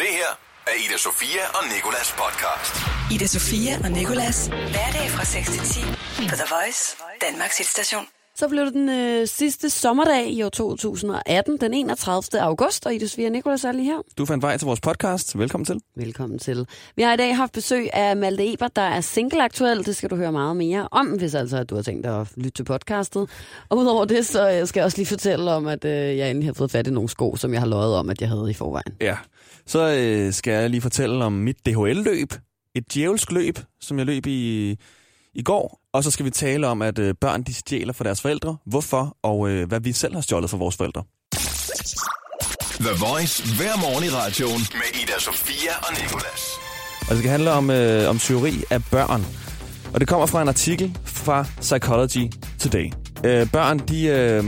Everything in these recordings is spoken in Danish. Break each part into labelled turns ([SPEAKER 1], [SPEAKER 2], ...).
[SPEAKER 1] af Ida Sofia og Nikolas podcast.
[SPEAKER 2] Ida Sofia og Nikolas. Hverdag fra 6 til 10 på The Voice, Danmarks hitstation.
[SPEAKER 3] Så blev det den øh, sidste sommerdag i år 2018, den 31. august, og Ida Sofia og Nicolas er lige her.
[SPEAKER 4] Du fandt vej til vores podcast. Velkommen til.
[SPEAKER 3] Velkommen til. Vi har i dag haft besøg af Malte Ebert, der er single-aktuel. Det skal du høre meget mere om, hvis altså at du har tænkt dig at lytte til podcastet. Og udover det, så øh, skal jeg også lige fortælle om, at øh, jeg endelig har fået fat i nogle sko, som jeg har løjet om, at jeg havde i forvejen.
[SPEAKER 4] Ja. Så øh, skal jeg lige fortælle om mit DHL-løb. Et djævelsk løb, som jeg løb i, i går. Og så skal vi tale om, at øh, børn de stjæler fra deres forældre. Hvorfor, og øh, hvad vi selv har stjålet fra vores forældre.
[SPEAKER 1] The Voice hver morgen i radioen med Ida Sofia og Nikolas.
[SPEAKER 4] Og det skal handle om, øh, om tyveri af børn. Og det kommer fra en artikel fra Psychology Today. Øh, børn, de øh,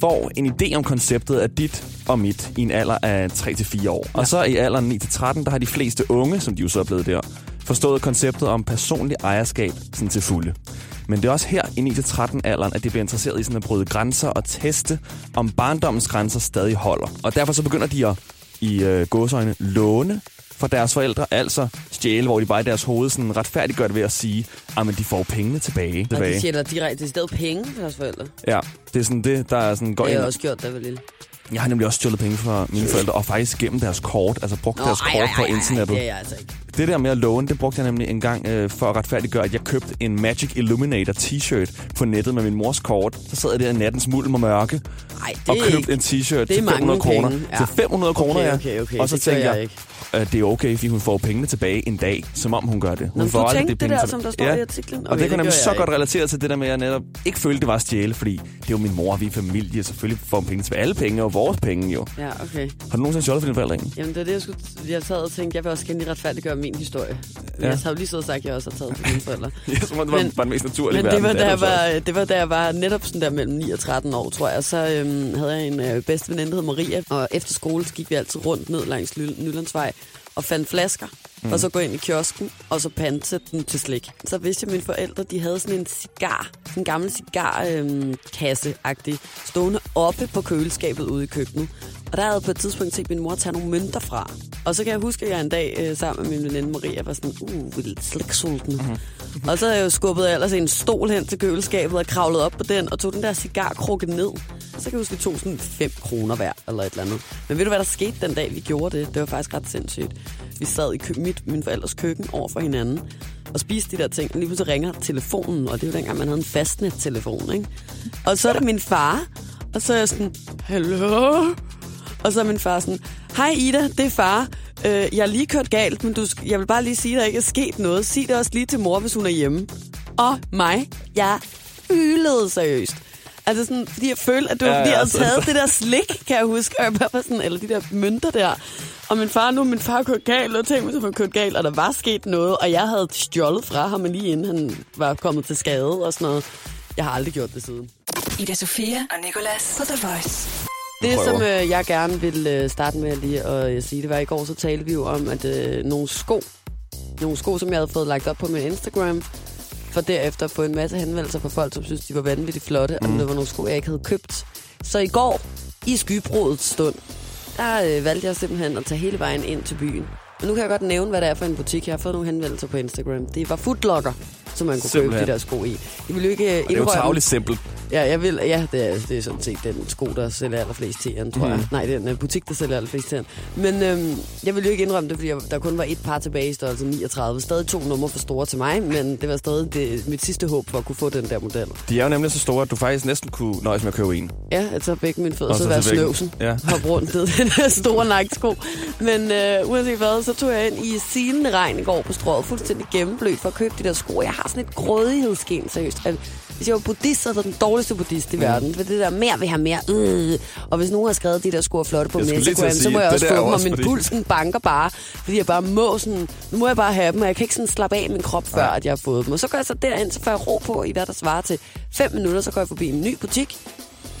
[SPEAKER 4] får en idé om konceptet af dit og mit i en alder af 3-4 år. Ja. Og så i alderen 9-13, der har de fleste unge, som de jo så er blevet der, forstået konceptet om personlig ejerskab sådan til fulde. Men det er også her i 9-13 alderen, at de bliver interesseret i sådan at bryde grænser og teste, om barndommens grænser stadig holder. Og derfor så begynder de at i øh, gåsøjne låne fra deres forældre, altså stjæle, hvor de bare i deres hoved sådan retfærdiggør det ved at sige, at de får pengene tilbage.
[SPEAKER 3] Og
[SPEAKER 4] tilbage.
[SPEAKER 3] de tjener direkte i stedet penge for deres forældre. Det
[SPEAKER 4] Ja, det er sådan det, der er sådan, går
[SPEAKER 3] har
[SPEAKER 4] ind.
[SPEAKER 3] jeg også gjort, da jeg var lille.
[SPEAKER 4] Jeg har nemlig også stjålet penge fra mine forældre, og faktisk gennem deres kort, altså brugt deres kort på internettet.
[SPEAKER 3] det er jeg altså ikke.
[SPEAKER 4] Det der med at låne, det brugte jeg nemlig en gang øh, for at retfærdiggøre, at jeg købte en Magic Illuminator t-shirt på nettet med min mors kort. Så sad jeg der i nattens mulm og mørke
[SPEAKER 3] Ej, det
[SPEAKER 4] og
[SPEAKER 3] er
[SPEAKER 4] købte
[SPEAKER 3] ikke-
[SPEAKER 4] en t-shirt
[SPEAKER 3] det er
[SPEAKER 4] til 500
[SPEAKER 3] mange
[SPEAKER 4] kroner.
[SPEAKER 3] penge, ja.
[SPEAKER 4] Til 500 kroner, ja.
[SPEAKER 3] okay, okay,
[SPEAKER 4] Og så
[SPEAKER 3] det gør
[SPEAKER 4] tænkte jeg,
[SPEAKER 3] jeg ikke.
[SPEAKER 4] at det er okay, fordi hun får pengene tilbage en dag, som om hun gør det. Hun
[SPEAKER 3] Nå, men
[SPEAKER 4] får
[SPEAKER 3] du
[SPEAKER 4] aldrig
[SPEAKER 3] tænkte det
[SPEAKER 4] penge
[SPEAKER 3] der,
[SPEAKER 4] tilbage.
[SPEAKER 3] som der står i artiklen?
[SPEAKER 4] Og
[SPEAKER 3] Okay,
[SPEAKER 4] det
[SPEAKER 3] det
[SPEAKER 4] kan nemlig
[SPEAKER 3] gør
[SPEAKER 4] så
[SPEAKER 3] jeg
[SPEAKER 4] godt relatere til det der med, at jeg netop ikke følte, det var at stjæle, fordi det er jo min mor, og vi er familie, selvfølgelig får hun penge tilbage. Alle penge er jo vores penge, jo.
[SPEAKER 3] Ja, okay.
[SPEAKER 4] Har du nogensinde stjålet for dine forældre? Inge?
[SPEAKER 3] Jamen, det er det, jeg, skulle, jeg sad og tænkte, jeg vil også gerne lige retfærdiggøre min historie. Ja.
[SPEAKER 4] Ja.
[SPEAKER 3] Jeg har jo lige siddet og sagt, at jeg også har taget fra mine forældre.
[SPEAKER 4] Jeg tror, det var,
[SPEAKER 3] Men-
[SPEAKER 4] var den mest naturlige
[SPEAKER 3] Men det var,
[SPEAKER 4] verden.
[SPEAKER 3] da
[SPEAKER 4] er
[SPEAKER 3] jeg
[SPEAKER 4] du så også.
[SPEAKER 3] var, øh, det var da jeg var netop sådan der mellem 9 og 13 år, tror jeg. Så øhm, havde jeg en øh, bedste veninde, der hed Maria. Og efter skole så gik vi altid rundt ned langs Ly- Nylandsvej og fandt flasker. Mm. Og så gå ind i kiosken, og så pansætte dem til slik. Så vidste jeg, at mine forældre de havde sådan en cigar, sådan en gammel cigarkasse øhm, stående oppe på køleskabet ude i køkkenet. Og der havde jeg på et tidspunkt set min mor tage nogle mønter fra. Og så kan jeg huske, at jeg en dag øh, sammen med min veninde Maria var sådan, uh, vi er lidt sliksultne. Mm-hmm. Og så havde jeg jo skubbet ellers en stol hen til køleskabet og kravlet op på den og tog den der cigarkrukke ned. Så kan jeg huske, at tog sådan 5 kroner hver eller et eller andet. Men ved du, hvad der skete den dag, vi gjorde det? Det var faktisk ret sindssygt. Vi sad i kø- mit, min forældres køkken over for hinanden og spiste de der ting. Lige pludselig ringer telefonen, og det er jo dengang, man havde en fastnettelefon, ikke? Og så er det min far, og så er jeg sådan, hallo? Og så er min far sådan, hej Ida, det er far. Øh, jeg har lige kørt galt, men du, sk- jeg vil bare lige sige, at der ikke er sket noget. Sig det også lige til mor, hvis hun er hjemme. Og mig, jeg ylede seriøst. Altså sådan, fordi jeg følte, at det var,
[SPEAKER 4] Ja,
[SPEAKER 3] ja, fordi
[SPEAKER 4] ja,
[SPEAKER 3] jeg havde
[SPEAKER 4] sådan
[SPEAKER 3] taget det der slik, kan jeg huske. Og jeg bare var sådan, eller de der mønter der. Og min far, nu er min far kørt galt, og tænkte, hvis han var kørt galt, og der var sket noget. Og jeg havde stjålet fra ham lige inden han var kommet til skade og sådan noget. Jeg har aldrig gjort det siden.
[SPEAKER 2] Ida Sofia og Nikolas på The Voice.
[SPEAKER 3] Det,
[SPEAKER 4] prøver.
[SPEAKER 3] som øh, jeg gerne vil øh, starte med lige at øh, sige, det var i går, så talte vi jo om, at øh, nogle sko, nogle sko, som jeg havde fået lagt op på min Instagram, for derefter at få en masse henvendelser fra folk, som synes, de var vanvittigt flotte, mm. og det var nogle sko, jeg ikke havde købt. Så i går, i skybrudets stund, der øh, valgte jeg simpelthen at tage hele vejen ind til byen. Men nu kan jeg godt nævne, hvad det er for en butik. Jeg har fået nogle henvendelser på Instagram. Det var Footlocker, som man kunne simpelthen.
[SPEAKER 4] Simpelthen.
[SPEAKER 3] købe de der sko i. Jeg vil jo ikke øh,
[SPEAKER 4] Det er jo
[SPEAKER 3] indrømme-
[SPEAKER 4] tavligt simpelt.
[SPEAKER 3] Ja, jeg vil, ja det, er, det er sådan set den sko, der sælger allerflest til tror mm. jeg. Nej, det er den øh, butik, der sælger allerflest til Men øhm, jeg vil jo ikke indrømme det, fordi jeg, der kun var et par tilbage i størrelse 39. Stadig to numre for store til mig, men det var stadig det, mit sidste håb for at kunne få den der model.
[SPEAKER 4] De er jo nemlig så store, at du faktisk næsten kunne nøjes med at købe en.
[SPEAKER 3] Ja, altså jeg tager begge mine fødder,
[SPEAKER 4] Og
[SPEAKER 3] så,
[SPEAKER 4] så
[SPEAKER 3] så være
[SPEAKER 4] til væggen.
[SPEAKER 3] snøvsen.
[SPEAKER 4] Ja.
[SPEAKER 3] Ja. Hoppe rundt ned i den her store naksko. Men øh, uanset hvad, så tog jeg ind i silende regn i går på strået, fuldstændig gennemblødt for at købe de der sko. Jeg har sådan et grådighedsgen, seriøst. At hvis jeg var buddhist, så var jeg den dårligste buddhist i mm. verden. For det der mere vil have mere. Øh. Og hvis nogen har skrevet de der sko er flotte på
[SPEAKER 4] Jeg
[SPEAKER 3] min
[SPEAKER 4] skulle lige til at
[SPEAKER 3] Instagram, så
[SPEAKER 4] sige,
[SPEAKER 3] må jeg
[SPEAKER 4] det
[SPEAKER 3] også få
[SPEAKER 4] der er
[SPEAKER 3] dem,
[SPEAKER 4] jo
[SPEAKER 3] og
[SPEAKER 4] også
[SPEAKER 3] min
[SPEAKER 4] fordi-
[SPEAKER 3] puls den banker bare, fordi jeg bare må sådan, nu må jeg bare have dem, og jeg kan ikke sådan slappe af min krop, før at jeg har fået dem. Og så går jeg så derind, så får jeg ro på i hvad der svarer til 5 minutter, så går jeg forbi en ny butik,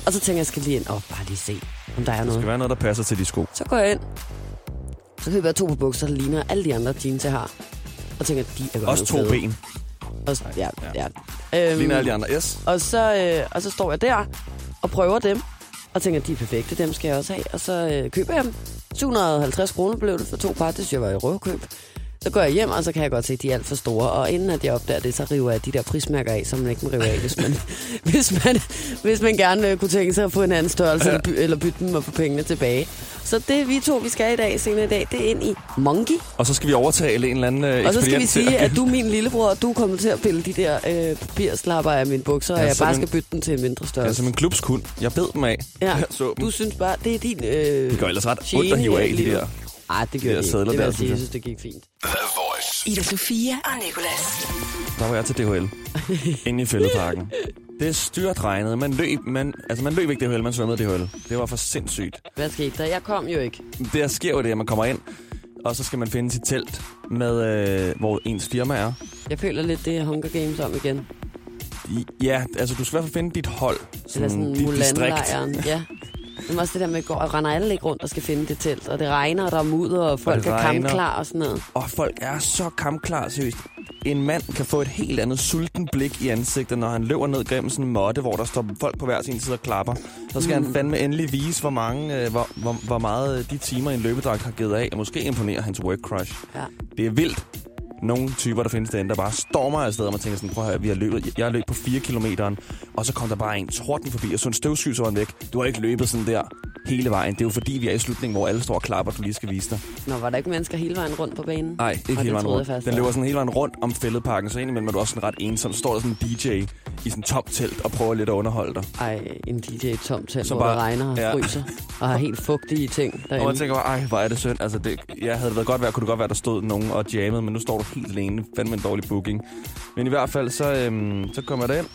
[SPEAKER 3] og så tænker jeg, jeg skal lige ind og bare lige se, om der er
[SPEAKER 4] Det
[SPEAKER 3] noget.
[SPEAKER 4] skal være noget, der passer til de sko.
[SPEAKER 3] Så går jeg ind, så køber jeg to på bukser, der ligner alle de andre jeans, jeg har. Og tænker, de er godt
[SPEAKER 4] Også
[SPEAKER 3] nok
[SPEAKER 4] to
[SPEAKER 3] fede.
[SPEAKER 4] ben.
[SPEAKER 3] Også, ja, ja. Øhm,
[SPEAKER 4] Ligner alle de andre. Yes.
[SPEAKER 3] og så, øh, og så står jeg der og prøver dem, og tænker, de er perfekte, dem skal jeg også have. Og så øh, køber jeg dem, 750 kroner blev det for to par, det synes jeg var i røvkøb. Så går jeg hjem, og så kan jeg godt se, at de er alt for store. Og inden at jeg opdager det, så river jeg de der prismærker af, som man ikke må rive af, hvis man, hvis man, hvis man gerne øh, kunne tænke sig at få en anden størrelse, eller, by, eller bytte dem og få pengene tilbage. Så det vi to, vi skal i dag, senere i dag, det er ind i Monkey.
[SPEAKER 4] Og så skal vi overtale en eller anden øh,
[SPEAKER 3] Og så skal vi
[SPEAKER 4] ekspedient til
[SPEAKER 3] sige, at du er min lillebror, og du er kommet til at pille de der øh, papirslapper af mine bukser, og
[SPEAKER 4] Ja,
[SPEAKER 3] jeg
[SPEAKER 4] som
[SPEAKER 3] bare
[SPEAKER 4] en-
[SPEAKER 3] skal bytte den til en mindre
[SPEAKER 4] Jeg er
[SPEAKER 3] størrelse.
[SPEAKER 4] som en klubskund. Jeg bed dem af. Jeg så dem.
[SPEAKER 3] du synes bare, det er din... Øh,
[SPEAKER 4] Det gør ellers ret ondt
[SPEAKER 3] gene
[SPEAKER 4] at hive af,
[SPEAKER 3] her i
[SPEAKER 4] de
[SPEAKER 3] livet.
[SPEAKER 4] der-
[SPEAKER 3] Ej, det gør
[SPEAKER 4] der
[SPEAKER 3] det ikke.
[SPEAKER 4] sedler
[SPEAKER 3] Det vil
[SPEAKER 4] der,
[SPEAKER 3] jeg sige,
[SPEAKER 4] synes jeg.
[SPEAKER 3] jeg synes, det gik fint.
[SPEAKER 1] The Voice.
[SPEAKER 2] Ida Sofia og Nicolas.
[SPEAKER 4] Der var jeg til DHL. Inde i fældeparken. Det styrt regnede. Man løb, man, altså man løb ikke DHL, man svømmede DHL. Det var for sindssygt.
[SPEAKER 3] Hvad skete der? Jeg kom jo ikke.
[SPEAKER 4] Det der sker jo det, at man kommer ind, og så skal man finde sit telt, med, øh, hvor ens firma er.
[SPEAKER 3] Jeg føler lidt, det er Hunger Games om igen.
[SPEAKER 4] I- Ja, altså du skal i hvert fald finde dit hold.
[SPEAKER 3] Eller sådan
[SPEAKER 4] dit distrikt.
[SPEAKER 3] Mulan-lejren. Ja. Men også det der med, at går og render alle ikke rundt og skal finde det telt, og det regner, og der er mudder, og folk
[SPEAKER 4] det
[SPEAKER 3] er
[SPEAKER 4] regner.
[SPEAKER 3] kampklar og sådan noget.
[SPEAKER 4] Og folk er så kampklar, seriøst. En mand kan få et helt andet sulten blik i ansigtet, når han løber ned gennem sådan en måtte, hvor der står folk på hver sin side og klapper. Så skal mm. han fandme endelig vise, hvor, mange, øh, hvor, hvor, hvor meget øh, de timer, en løbedragt har givet af, og måske imponere hans work crush.
[SPEAKER 3] Ja.
[SPEAKER 4] Det er vildt. Nogle typer, der findes derinde, der bare stormer afsted, og man tænker sådan, prøv at høre, vi har løbet, jeg har løbet på 4 km, og så kom der bare en torden forbi, og så en støvsky, så var han væk. Du har ikke løbet sådan der hele vejen. Det er jo fordi, vi er i slutningen, hvor alle står og klapper, du lige skal vise dig.
[SPEAKER 3] Nå, var der ikke mennesker hele vejen rundt på banen?
[SPEAKER 4] Nej, ikke
[SPEAKER 3] Og det
[SPEAKER 4] hele vejen
[SPEAKER 3] troede jeg
[SPEAKER 4] rundt.
[SPEAKER 3] faktisk,
[SPEAKER 4] den
[SPEAKER 3] der
[SPEAKER 4] løber
[SPEAKER 3] var.
[SPEAKER 4] sådan hele vejen rundt om fældeparken, så indimellem er du også sådan ret ensom. Så står der sådan en DJ i sådan et tomt telt og prøver lidt at underholde dig.
[SPEAKER 3] Ej, en DJ i et tomt telt,
[SPEAKER 4] Så
[SPEAKER 3] hvor bare, det
[SPEAKER 4] bare-
[SPEAKER 3] regner og
[SPEAKER 4] ja.
[SPEAKER 3] ja. fryser, og har helt fugtige ting
[SPEAKER 4] Og
[SPEAKER 3] derinde.
[SPEAKER 4] man tænker bare, ej, hvor er det synd. Altså, det, jeg havde det været godt være, kunne det godt være, der stod nogen og jammede, men nu står du helt alene. Fandme en dårlig booking. Men i hvert fald, så, øhm, så kommer jeg derind.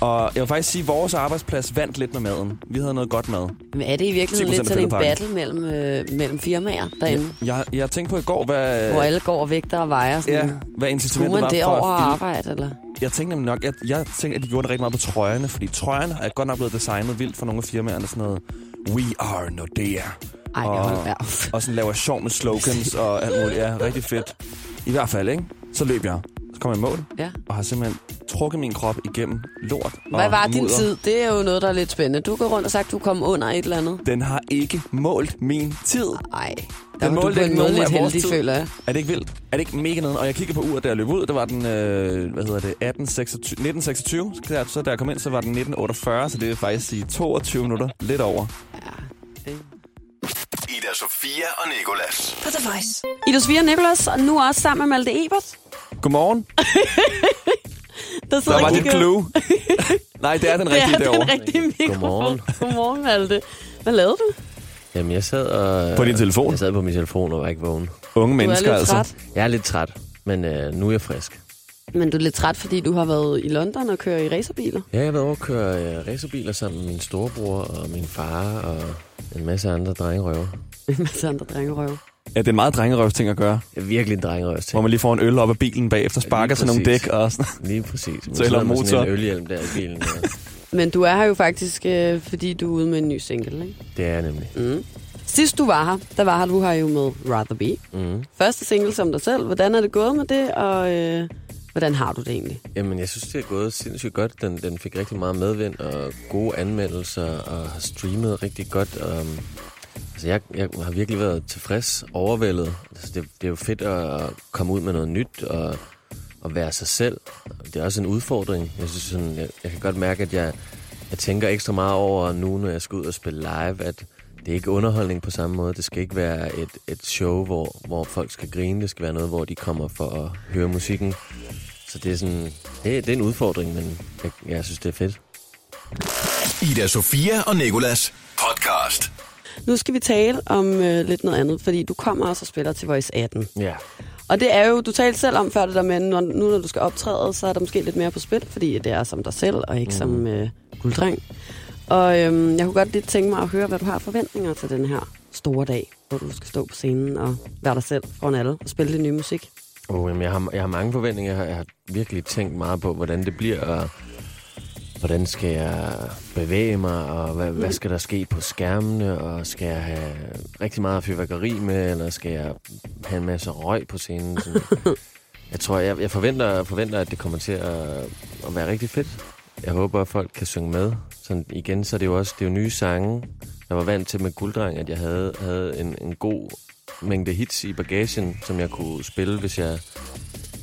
[SPEAKER 4] Og jeg vil faktisk sige, at vores arbejdsplads vandt lidt med maden. Vi havde noget godt mad.
[SPEAKER 3] Men er det i
[SPEAKER 4] 10%
[SPEAKER 3] virkeligheden lidt
[SPEAKER 4] af
[SPEAKER 3] sådan en
[SPEAKER 4] fældeparken.
[SPEAKER 3] battle mellem, øh, mellem firmaer derinde, ja.
[SPEAKER 4] Jeg, jeg tænkte på i går, hvad...
[SPEAKER 3] hvor alle går og vægter og vejer sådan?
[SPEAKER 4] Ja,
[SPEAKER 3] Ja.
[SPEAKER 4] hvad
[SPEAKER 3] Skulle
[SPEAKER 4] incitamentet
[SPEAKER 3] man
[SPEAKER 4] var for
[SPEAKER 3] derover
[SPEAKER 4] at
[SPEAKER 3] og
[SPEAKER 4] filme.
[SPEAKER 3] arbejde, eller?
[SPEAKER 4] Jeg tænkte nemlig nok, jeg, jeg tænkte, at de gjorde det rigtig meget på trøjerne, fordi trøjerne er godt nok blevet designet vildt for nogle af firmaerne, sådan noget, we are Nordea,
[SPEAKER 3] Ej,
[SPEAKER 4] Og-
[SPEAKER 3] hold da op.
[SPEAKER 4] og sådan laver sjov med slogans og alt muligt. Ja, rigtig fedt. I hvert fald, ikke? Så løb jeg. Så kom jeg i mål,
[SPEAKER 3] Ja.
[SPEAKER 4] og har simpelthen trukket min krop igennem lort
[SPEAKER 3] Hvad
[SPEAKER 4] og
[SPEAKER 3] var din
[SPEAKER 4] mudder.
[SPEAKER 3] tid? Det er jo noget, der er lidt spændende. Du går rundt og sagt, du kom under et eller andet.
[SPEAKER 4] Den har ikke målt min tid.
[SPEAKER 3] Ej, der
[SPEAKER 4] Den
[SPEAKER 3] var du
[SPEAKER 4] målte
[SPEAKER 3] på en
[SPEAKER 4] ikke
[SPEAKER 3] måde
[SPEAKER 4] nogen
[SPEAKER 3] lidt
[SPEAKER 4] af vores
[SPEAKER 3] heldig,
[SPEAKER 4] tid.
[SPEAKER 3] føler jeg.
[SPEAKER 4] Er det ikke vildt? Er det ikke mega nede? Og jeg kigger på uret, da jeg løb ud. Det var den, øh, hvad hedder det, 18, 26, 1926. Så der- Så da jeg kom ind, så var den 1948. Så det vil faktisk sige 22 minutter. Lidt over.
[SPEAKER 1] Ida Sofia og Nicolas.
[SPEAKER 2] På The Voice.
[SPEAKER 3] Ida Sofia Nicolas, og nu også sammen med Malte Ebert.
[SPEAKER 4] Godmorgen.
[SPEAKER 3] Der sidder
[SPEAKER 4] Der var
[SPEAKER 3] og
[SPEAKER 4] dit
[SPEAKER 3] kigger.
[SPEAKER 4] clue. Nej, det er den
[SPEAKER 3] Det er
[SPEAKER 4] rigtige
[SPEAKER 3] den
[SPEAKER 4] derovre.
[SPEAKER 3] rigtige mikrofon.
[SPEAKER 5] Godmorgen.
[SPEAKER 3] Godmorgen, Malte. Hvad lavede du?
[SPEAKER 5] Jamen, jeg sad og...
[SPEAKER 4] På din telefon?
[SPEAKER 5] Jeg sad på min telefon og var ikke vågen.
[SPEAKER 4] Unge
[SPEAKER 3] Du er
[SPEAKER 4] mennesker,
[SPEAKER 3] lidt
[SPEAKER 4] altså.
[SPEAKER 3] træt.
[SPEAKER 5] Jeg er lidt træt, men øh, nu er jeg frisk.
[SPEAKER 3] Men du er lidt træt, fordi du har været i London og kører i racerbiler.
[SPEAKER 5] Ja, jeg har været over at køre øh, racerbiler sammen med min storebror og min far og en masse andre drengerøver.
[SPEAKER 3] Med masser andre drengerøve.
[SPEAKER 4] Ja, det er en meget drengerøvs ting at gøre.
[SPEAKER 5] Jeg er virkelig en drengerøvs
[SPEAKER 4] Hvor
[SPEAKER 5] ting.
[SPEAKER 4] man lige får en øl op af bilen bagefter, sparker
[SPEAKER 5] lige
[SPEAKER 4] til nogle
[SPEAKER 5] præcis.
[SPEAKER 4] dæk og sådan.
[SPEAKER 5] Lige præcis. Man
[SPEAKER 4] Så eller
[SPEAKER 5] sidder med
[SPEAKER 4] motor.
[SPEAKER 5] Sådan en ølhjelm der i bilen. Og
[SPEAKER 3] Men du er her jo faktisk, øh, fordi du er ude med en ny single, ikke?
[SPEAKER 5] det er jeg nemlig. Mm.
[SPEAKER 3] Sidst du var her, der var her, du her jo med Rather Be. Mm. Første single som dig selv. Hvordan er det gået med det, og øh, hvordan har du det egentlig?
[SPEAKER 5] Jamen, jeg synes, det er gået sindssygt godt. Den, den fik rigtig meget medvind og gode anmeldelser og har streamet rigtig godt. Og, altså, jeg, jeg har virkelig været tilfreds, overvældet. Altså, det, det er jo fedt at komme ud med noget nyt og, og være sig selv. Det er også en udfordring. Jeg, synes, sådan, jeg, jeg kan godt mærke, at jeg, jeg tænker ekstra meget over nu, når jeg skal ud og spille live, at det er ikke underholdning på samme måde. Det skal ikke være et, et show, hvor, hvor folk skal grine. Det skal være noget, hvor de kommer for at høre musikken. Så det er sådan, det, det er en udfordring, men jeg, jeg synes, det er fedt.
[SPEAKER 1] Ida Sofia og Nicolas podcast.
[SPEAKER 3] Nu skal vi tale om øh, lidt noget andet, fordi du kommer også og spiller til Voice 18.
[SPEAKER 5] Ja.
[SPEAKER 3] Og det er jo, du talte selv om før det der med, når, nu når du skal optræde, så er der måske lidt mere på spil, fordi det er som dig selv, og ikke mm. som øh, gulddreng. Og øhm, jeg kunne godt lidt tænke mig at høre, hvad du har af forventninger til den her store dag, hvor du skal stå på scenen og være dig selv foran alle og spille din nye musik.
[SPEAKER 5] Oh, jamen, jeg, har, jeg har mange forventninger. Jeg har, jeg har virkelig tænkt meget på, hvordan det bliver, og hvordan skal jeg bevæge mig, og hvad, hvad skal der ske på skærmene, og skal jeg have rigtig meget fyrværkeri med, eller skal jeg have en masse røg på scenen? Sådan. Jeg tror, jeg, jeg forventer, forventer, at det kommer til at, at være rigtig fedt. Jeg håber, at folk kan synge med. Sådan, igen, så er det jo også det er jo nye sange, Jeg var vant til med gulddreng, at jeg havde, havde en, en god mængde hits i bagagen, som jeg kunne spille, hvis jeg,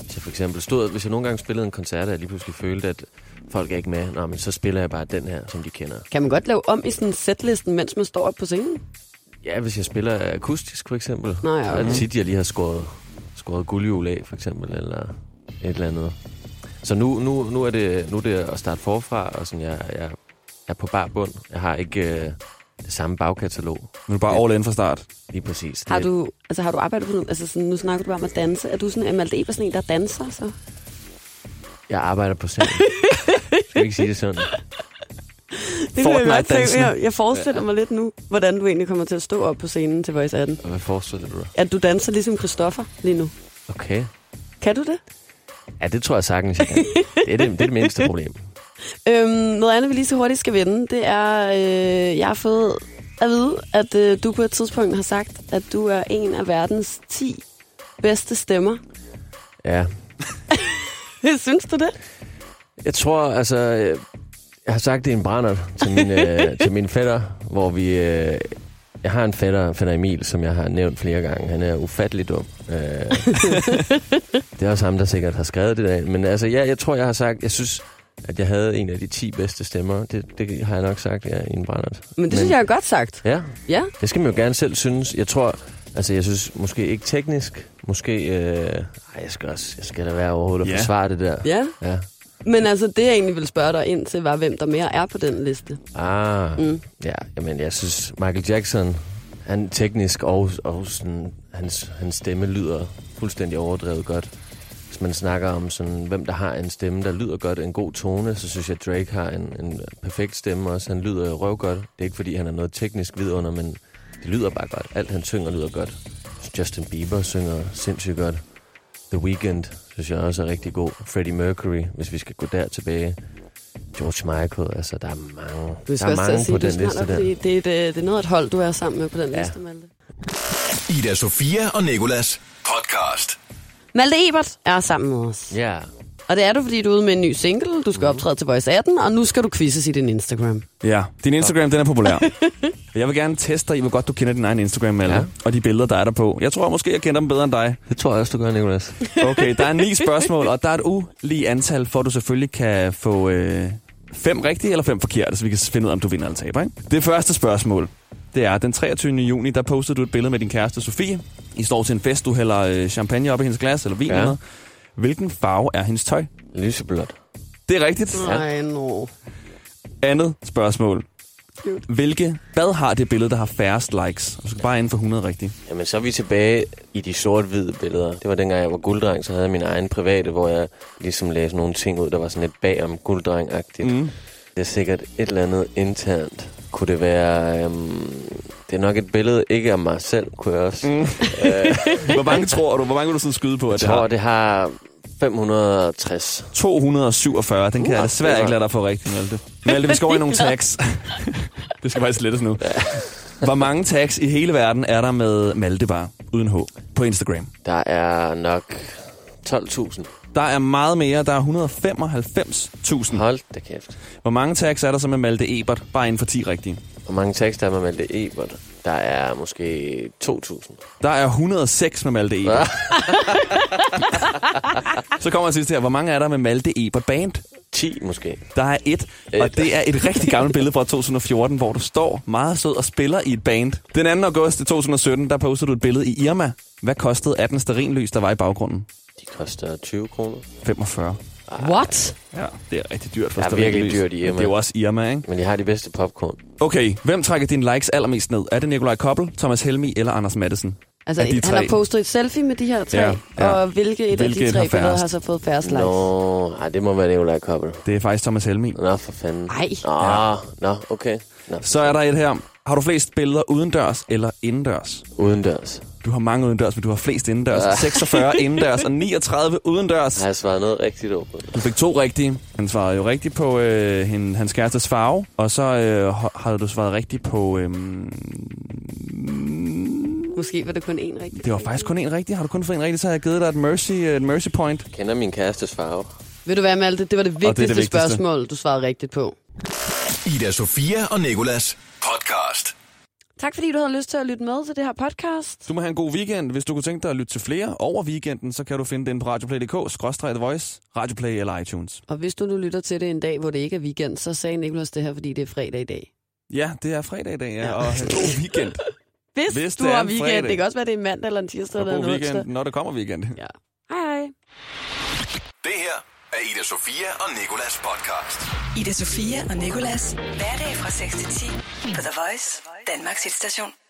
[SPEAKER 5] hvis jeg for eksempel stod... Hvis jeg nogle gange spillede en koncert, og jeg lige pludselig følte, at folk er ikke med, Nå, men så spiller jeg bare den her, som de kender.
[SPEAKER 3] Kan man godt lave om i sådan setlisten, mens man står op på scenen?
[SPEAKER 5] Ja, hvis jeg spiller akustisk, for eksempel.
[SPEAKER 3] Nå ja,
[SPEAKER 5] Så er
[SPEAKER 3] okay.
[SPEAKER 5] det tit, jeg lige har skåret, skåret guldhjul af, for eksempel, eller et eller andet. Så nu, nu, nu, er, det, nu er det at starte forfra, og sådan, jeg, jeg er på bar bund. Jeg har ikke øh, det samme bagkatalog,
[SPEAKER 4] Men bare all in fra start.
[SPEAKER 5] lige præcis. Det,
[SPEAKER 3] Har du, altså, har du arbejdet på noget? Altså, sådan, nu snakker du bare om at danse. Er du sådan Amal Eber, sådan en, der danser? Så?
[SPEAKER 5] Jeg arbejder på scenen. Skal vi ikke sige det sådan?
[SPEAKER 3] Det kunne jeg, godt tænke.
[SPEAKER 4] Fortnite-dansen.
[SPEAKER 3] jeg, jeg forestiller mig lidt nu, hvordan du egentlig kommer til at stå op på scenen til Voice 18.
[SPEAKER 5] Og Hvad forestiller du dig?
[SPEAKER 3] At du danser ligesom Christoffer lige nu.
[SPEAKER 5] Okay.
[SPEAKER 3] Kan du det?
[SPEAKER 5] Ja, det tror jeg sagtens, jeg kan. Det er det, det, er det mindste problem.
[SPEAKER 3] Øhm, noget andet, vi lige så hurtigt skal vende, det er, øh, jeg har fået at vide, at øh, du på et tidspunkt har sagt, at du er en af verdens 10 bedste stemmer.
[SPEAKER 5] Ja,
[SPEAKER 3] Synes du det?
[SPEAKER 5] Jeg tror, altså... øh, Jeg har sagt det i en brænder til min, øh, til min fætter, hvor vi... Øh, jeg har en fætter, fætter Emil, som jeg har nævnt flere gange. Han er ufattelig dum. Øh, det er også ham, der sikkert har skrevet det der. Men altså, ja, jeg tror, jeg har sagt... Jeg synes, at jeg havde en af de 10 bedste stemmer. Det, det har jeg nok sagt, ja, i en brænder.
[SPEAKER 3] Men det synes jeg er godt sagt.
[SPEAKER 5] Ja,
[SPEAKER 3] Ja.
[SPEAKER 5] det skal man jo gerne selv synes. Jeg tror, altså jeg synes måske ikke teknisk, måske... Øh, ej, jeg skal også, jeg skal da være overhovedet
[SPEAKER 4] Ja.
[SPEAKER 5] og forsvare det der.
[SPEAKER 3] Ja,
[SPEAKER 5] ja.
[SPEAKER 3] men altså det jeg egentlig ville spørge dig ind til, var hvem der mere er på den liste.
[SPEAKER 5] Ah, mm. ja, jamen jeg synes Michael Jackson, han teknisk og, og sådan, hans, hans stemme lyder fuldstændig overdrevet godt. Hvis man snakker om sådan, hvem der har en stemme, der lyder godt, en god tone, så synes jeg Drake har en, en perfekt stemme også. Han lyder jo røvgodt. Det er ikke fordi, han er noget teknisk vidunder, men det lyder bare godt. Alt han synger lyder godt. Justin Bieber synger sindssygt godt. The Weeknd synes jeg også er rigtig god. Freddie Mercury, hvis vi skal gå der tilbage. George Michael, altså der er mange,
[SPEAKER 3] Du
[SPEAKER 5] der er mange på
[SPEAKER 3] det,
[SPEAKER 5] den liste der.
[SPEAKER 3] det, det, er et, øh, det er noget af et hold, du er sammen med på den ja.
[SPEAKER 5] Ja.
[SPEAKER 3] liste, Malte.
[SPEAKER 1] Ida Sofia og Nikolas podcast.
[SPEAKER 3] Malte Ebert er sammen med os.
[SPEAKER 5] Ja,
[SPEAKER 3] Og det er du, fordi du er ude med en ny single, du
[SPEAKER 5] Mhm.
[SPEAKER 3] skal optræde til Voice 18, og nu skal du quizzes i din Instagram.
[SPEAKER 4] Ja, din Instagram, den er populær. Og jeg vil gerne teste dig i, hvor godt du kender din egen Instagram, Malte, ja.
[SPEAKER 5] Ja.
[SPEAKER 4] og de billeder, der er der på. Jeg tror måske, jeg kender dem bedre end dig.
[SPEAKER 5] det tror jeg også, du gør, Nicolas.
[SPEAKER 4] Okay, der er ni spørgsmål, og der er et ulige antal, for at du selvfølgelig kan få øh, fem rigtige eller fem forkerte, så vi kan finde ud af, om du vinder eller taber. Ikke? Det første spørgsmål, det er, den 23. juni, der postede du et billede med din kæreste Sofie. I står til en fest, du hælder øh, champagne op i hendes glas, eller vin ja.
[SPEAKER 5] Ja.
[SPEAKER 4] eller noget. Hvilken farve er hendes tøj?
[SPEAKER 5] Lyseblåt.
[SPEAKER 4] Det er rigtigt. Ja.
[SPEAKER 3] Nej, no.
[SPEAKER 4] Andet spørgsmål.
[SPEAKER 3] Cute.
[SPEAKER 4] Hvilke bad har det billede, der har færrest likes? Du skal bare inden for 100 rigtigt.
[SPEAKER 5] Jamen, så er vi tilbage i de sort-hvide billeder. Det var dengang, jeg var gulddreng, så havde jeg min egen private, hvor jeg ligesom lagde nogle ting ud, der var sådan lidt bagom gulddreng-agtigt. Mm. Det er sikkert et eller andet internt. Kunne det være... Øhm, det er nok et billede ikke af mig selv, kunne jeg også. Mm. Jeg
[SPEAKER 4] Hvor mange tror du? Hvor mange vil du sådan skyde på, at det
[SPEAKER 5] tror,
[SPEAKER 4] har?
[SPEAKER 5] det har 560.
[SPEAKER 4] 247. Den kan jeg
[SPEAKER 5] Uh, det
[SPEAKER 4] desværre
[SPEAKER 5] var-
[SPEAKER 4] ikke lade dig få rigtigt, Malte. Malte, vi skal over i nogle tags. det skal faktisk slettes nu. Hvor mange tags i hele verden er der med Malte bare, uden H, på Instagram?
[SPEAKER 5] Der er nok 12.000.
[SPEAKER 4] Der er meget mere. Der er 195.000.
[SPEAKER 5] Hold da kæft.
[SPEAKER 4] Hvor mange tags er der så med Malte Ebert? Bare inden for 10 rigtige.
[SPEAKER 5] Hvor mange tekster er man med det Ebert? Der er måske 2.000.
[SPEAKER 4] Der er 106 med Malte Ebert. så kommer jeg sidst her. Hvor mange er der med Malte Ebert Band?
[SPEAKER 5] 10 måske.
[SPEAKER 4] Der er et, og det er et rigtig gammelt billede fra 2014, hvor du står meget sød og spiller i et band. Den 2. august 2017, der postede du et billede i Irma. Hvad kostede 18 sterinlys, der var i baggrunden?
[SPEAKER 5] De koster 20 kroner.
[SPEAKER 4] 45.
[SPEAKER 3] What?
[SPEAKER 4] Ja, det er rigtig dyrt for
[SPEAKER 5] Det er virkelig
[SPEAKER 4] stearinlys.
[SPEAKER 5] dyrt i Irma.
[SPEAKER 4] Det er jo også Irma, ikke?
[SPEAKER 5] Men de har de bedste popcorn.
[SPEAKER 4] Okay, hvem trækker dine likes allermest ned? Er det Nikolaj Koppel, Thomas Helmi eller Anders Madsen?
[SPEAKER 3] Altså,
[SPEAKER 4] Af de
[SPEAKER 3] han
[SPEAKER 4] tre.
[SPEAKER 3] har postet et selfie med de her tre,
[SPEAKER 4] Ja,
[SPEAKER 3] ja,
[SPEAKER 4] ja.
[SPEAKER 3] ja. og hvilke et
[SPEAKER 4] Hvilket
[SPEAKER 3] af de tre
[SPEAKER 4] har
[SPEAKER 3] billeder
[SPEAKER 4] færrest?
[SPEAKER 3] har så fået færrest likes?
[SPEAKER 5] Nå, ej, det må være Nicolai Koppel.
[SPEAKER 4] Det er faktisk Thomas Helmi.
[SPEAKER 5] Nå, for fanden.
[SPEAKER 3] Ej.
[SPEAKER 5] Ah, nå, okay. Nå.
[SPEAKER 4] Så er der et her. Har du flest billeder udendørs eller indendørs?
[SPEAKER 5] Udendørs.
[SPEAKER 4] Du har mange udendørs, men du har flest indendørs. 46 indendørs og 39 udendørs.
[SPEAKER 5] Har jeg svaret noget rigtigt over?
[SPEAKER 4] Du fik to rigtige. Han svarede jo rigtigt på øh, hende, hans kærestes farve, og så øh, ho- havde du svaret rigtigt på... Øh,
[SPEAKER 3] Måske var det kun én rigtig.
[SPEAKER 4] det var faktisk kun en rigtig. Har du kun fået en rigtig, så har jeg givet dig et mercy, øh, et mercy point.
[SPEAKER 5] Kender min kærestes farve.
[SPEAKER 3] Vil du være med alt det? Det var det
[SPEAKER 4] det er
[SPEAKER 3] vigtigste,
[SPEAKER 4] det
[SPEAKER 3] det
[SPEAKER 4] vigtigste.
[SPEAKER 3] spørgsmål, du svarede rigtigt på.
[SPEAKER 1] Ida Sofia og Nikolas podcast.
[SPEAKER 3] Tak fordi du havde lyst til at lytte med til det her podcast.
[SPEAKER 4] Du må have en god weekend. Hvis du kunne tænke dig at lytte til flere over weekenden, så kan du finde den på radioplay.dk, skrådstræk The Voice, Radioplay eller iTunes.
[SPEAKER 3] Og hvis du nu lytter til det en dag, hvor det ikke er weekend, så sagde Nicolas det her, fordi det er fredag i dag.
[SPEAKER 4] Ja, det er fredag i dag, ja, og have en god weekend.
[SPEAKER 3] Hvis,
[SPEAKER 4] Hvis
[SPEAKER 3] du
[SPEAKER 4] det er
[SPEAKER 3] har
[SPEAKER 4] en
[SPEAKER 3] weekend,
[SPEAKER 4] fredag.
[SPEAKER 3] det kan også være, det er en mandag eller en tirsdag
[SPEAKER 4] Og
[SPEAKER 3] eller en
[SPEAKER 4] god weekend,
[SPEAKER 3] onsdag.
[SPEAKER 4] når det kommer weekend.
[SPEAKER 3] Ja. Hej hej.
[SPEAKER 1] Det her er Ida Sofia og Nikolas podcast.
[SPEAKER 2] Ida Sofia og Nikolas. Hverdag fra 6 til 10 på The Voice, Danmarks hitstation.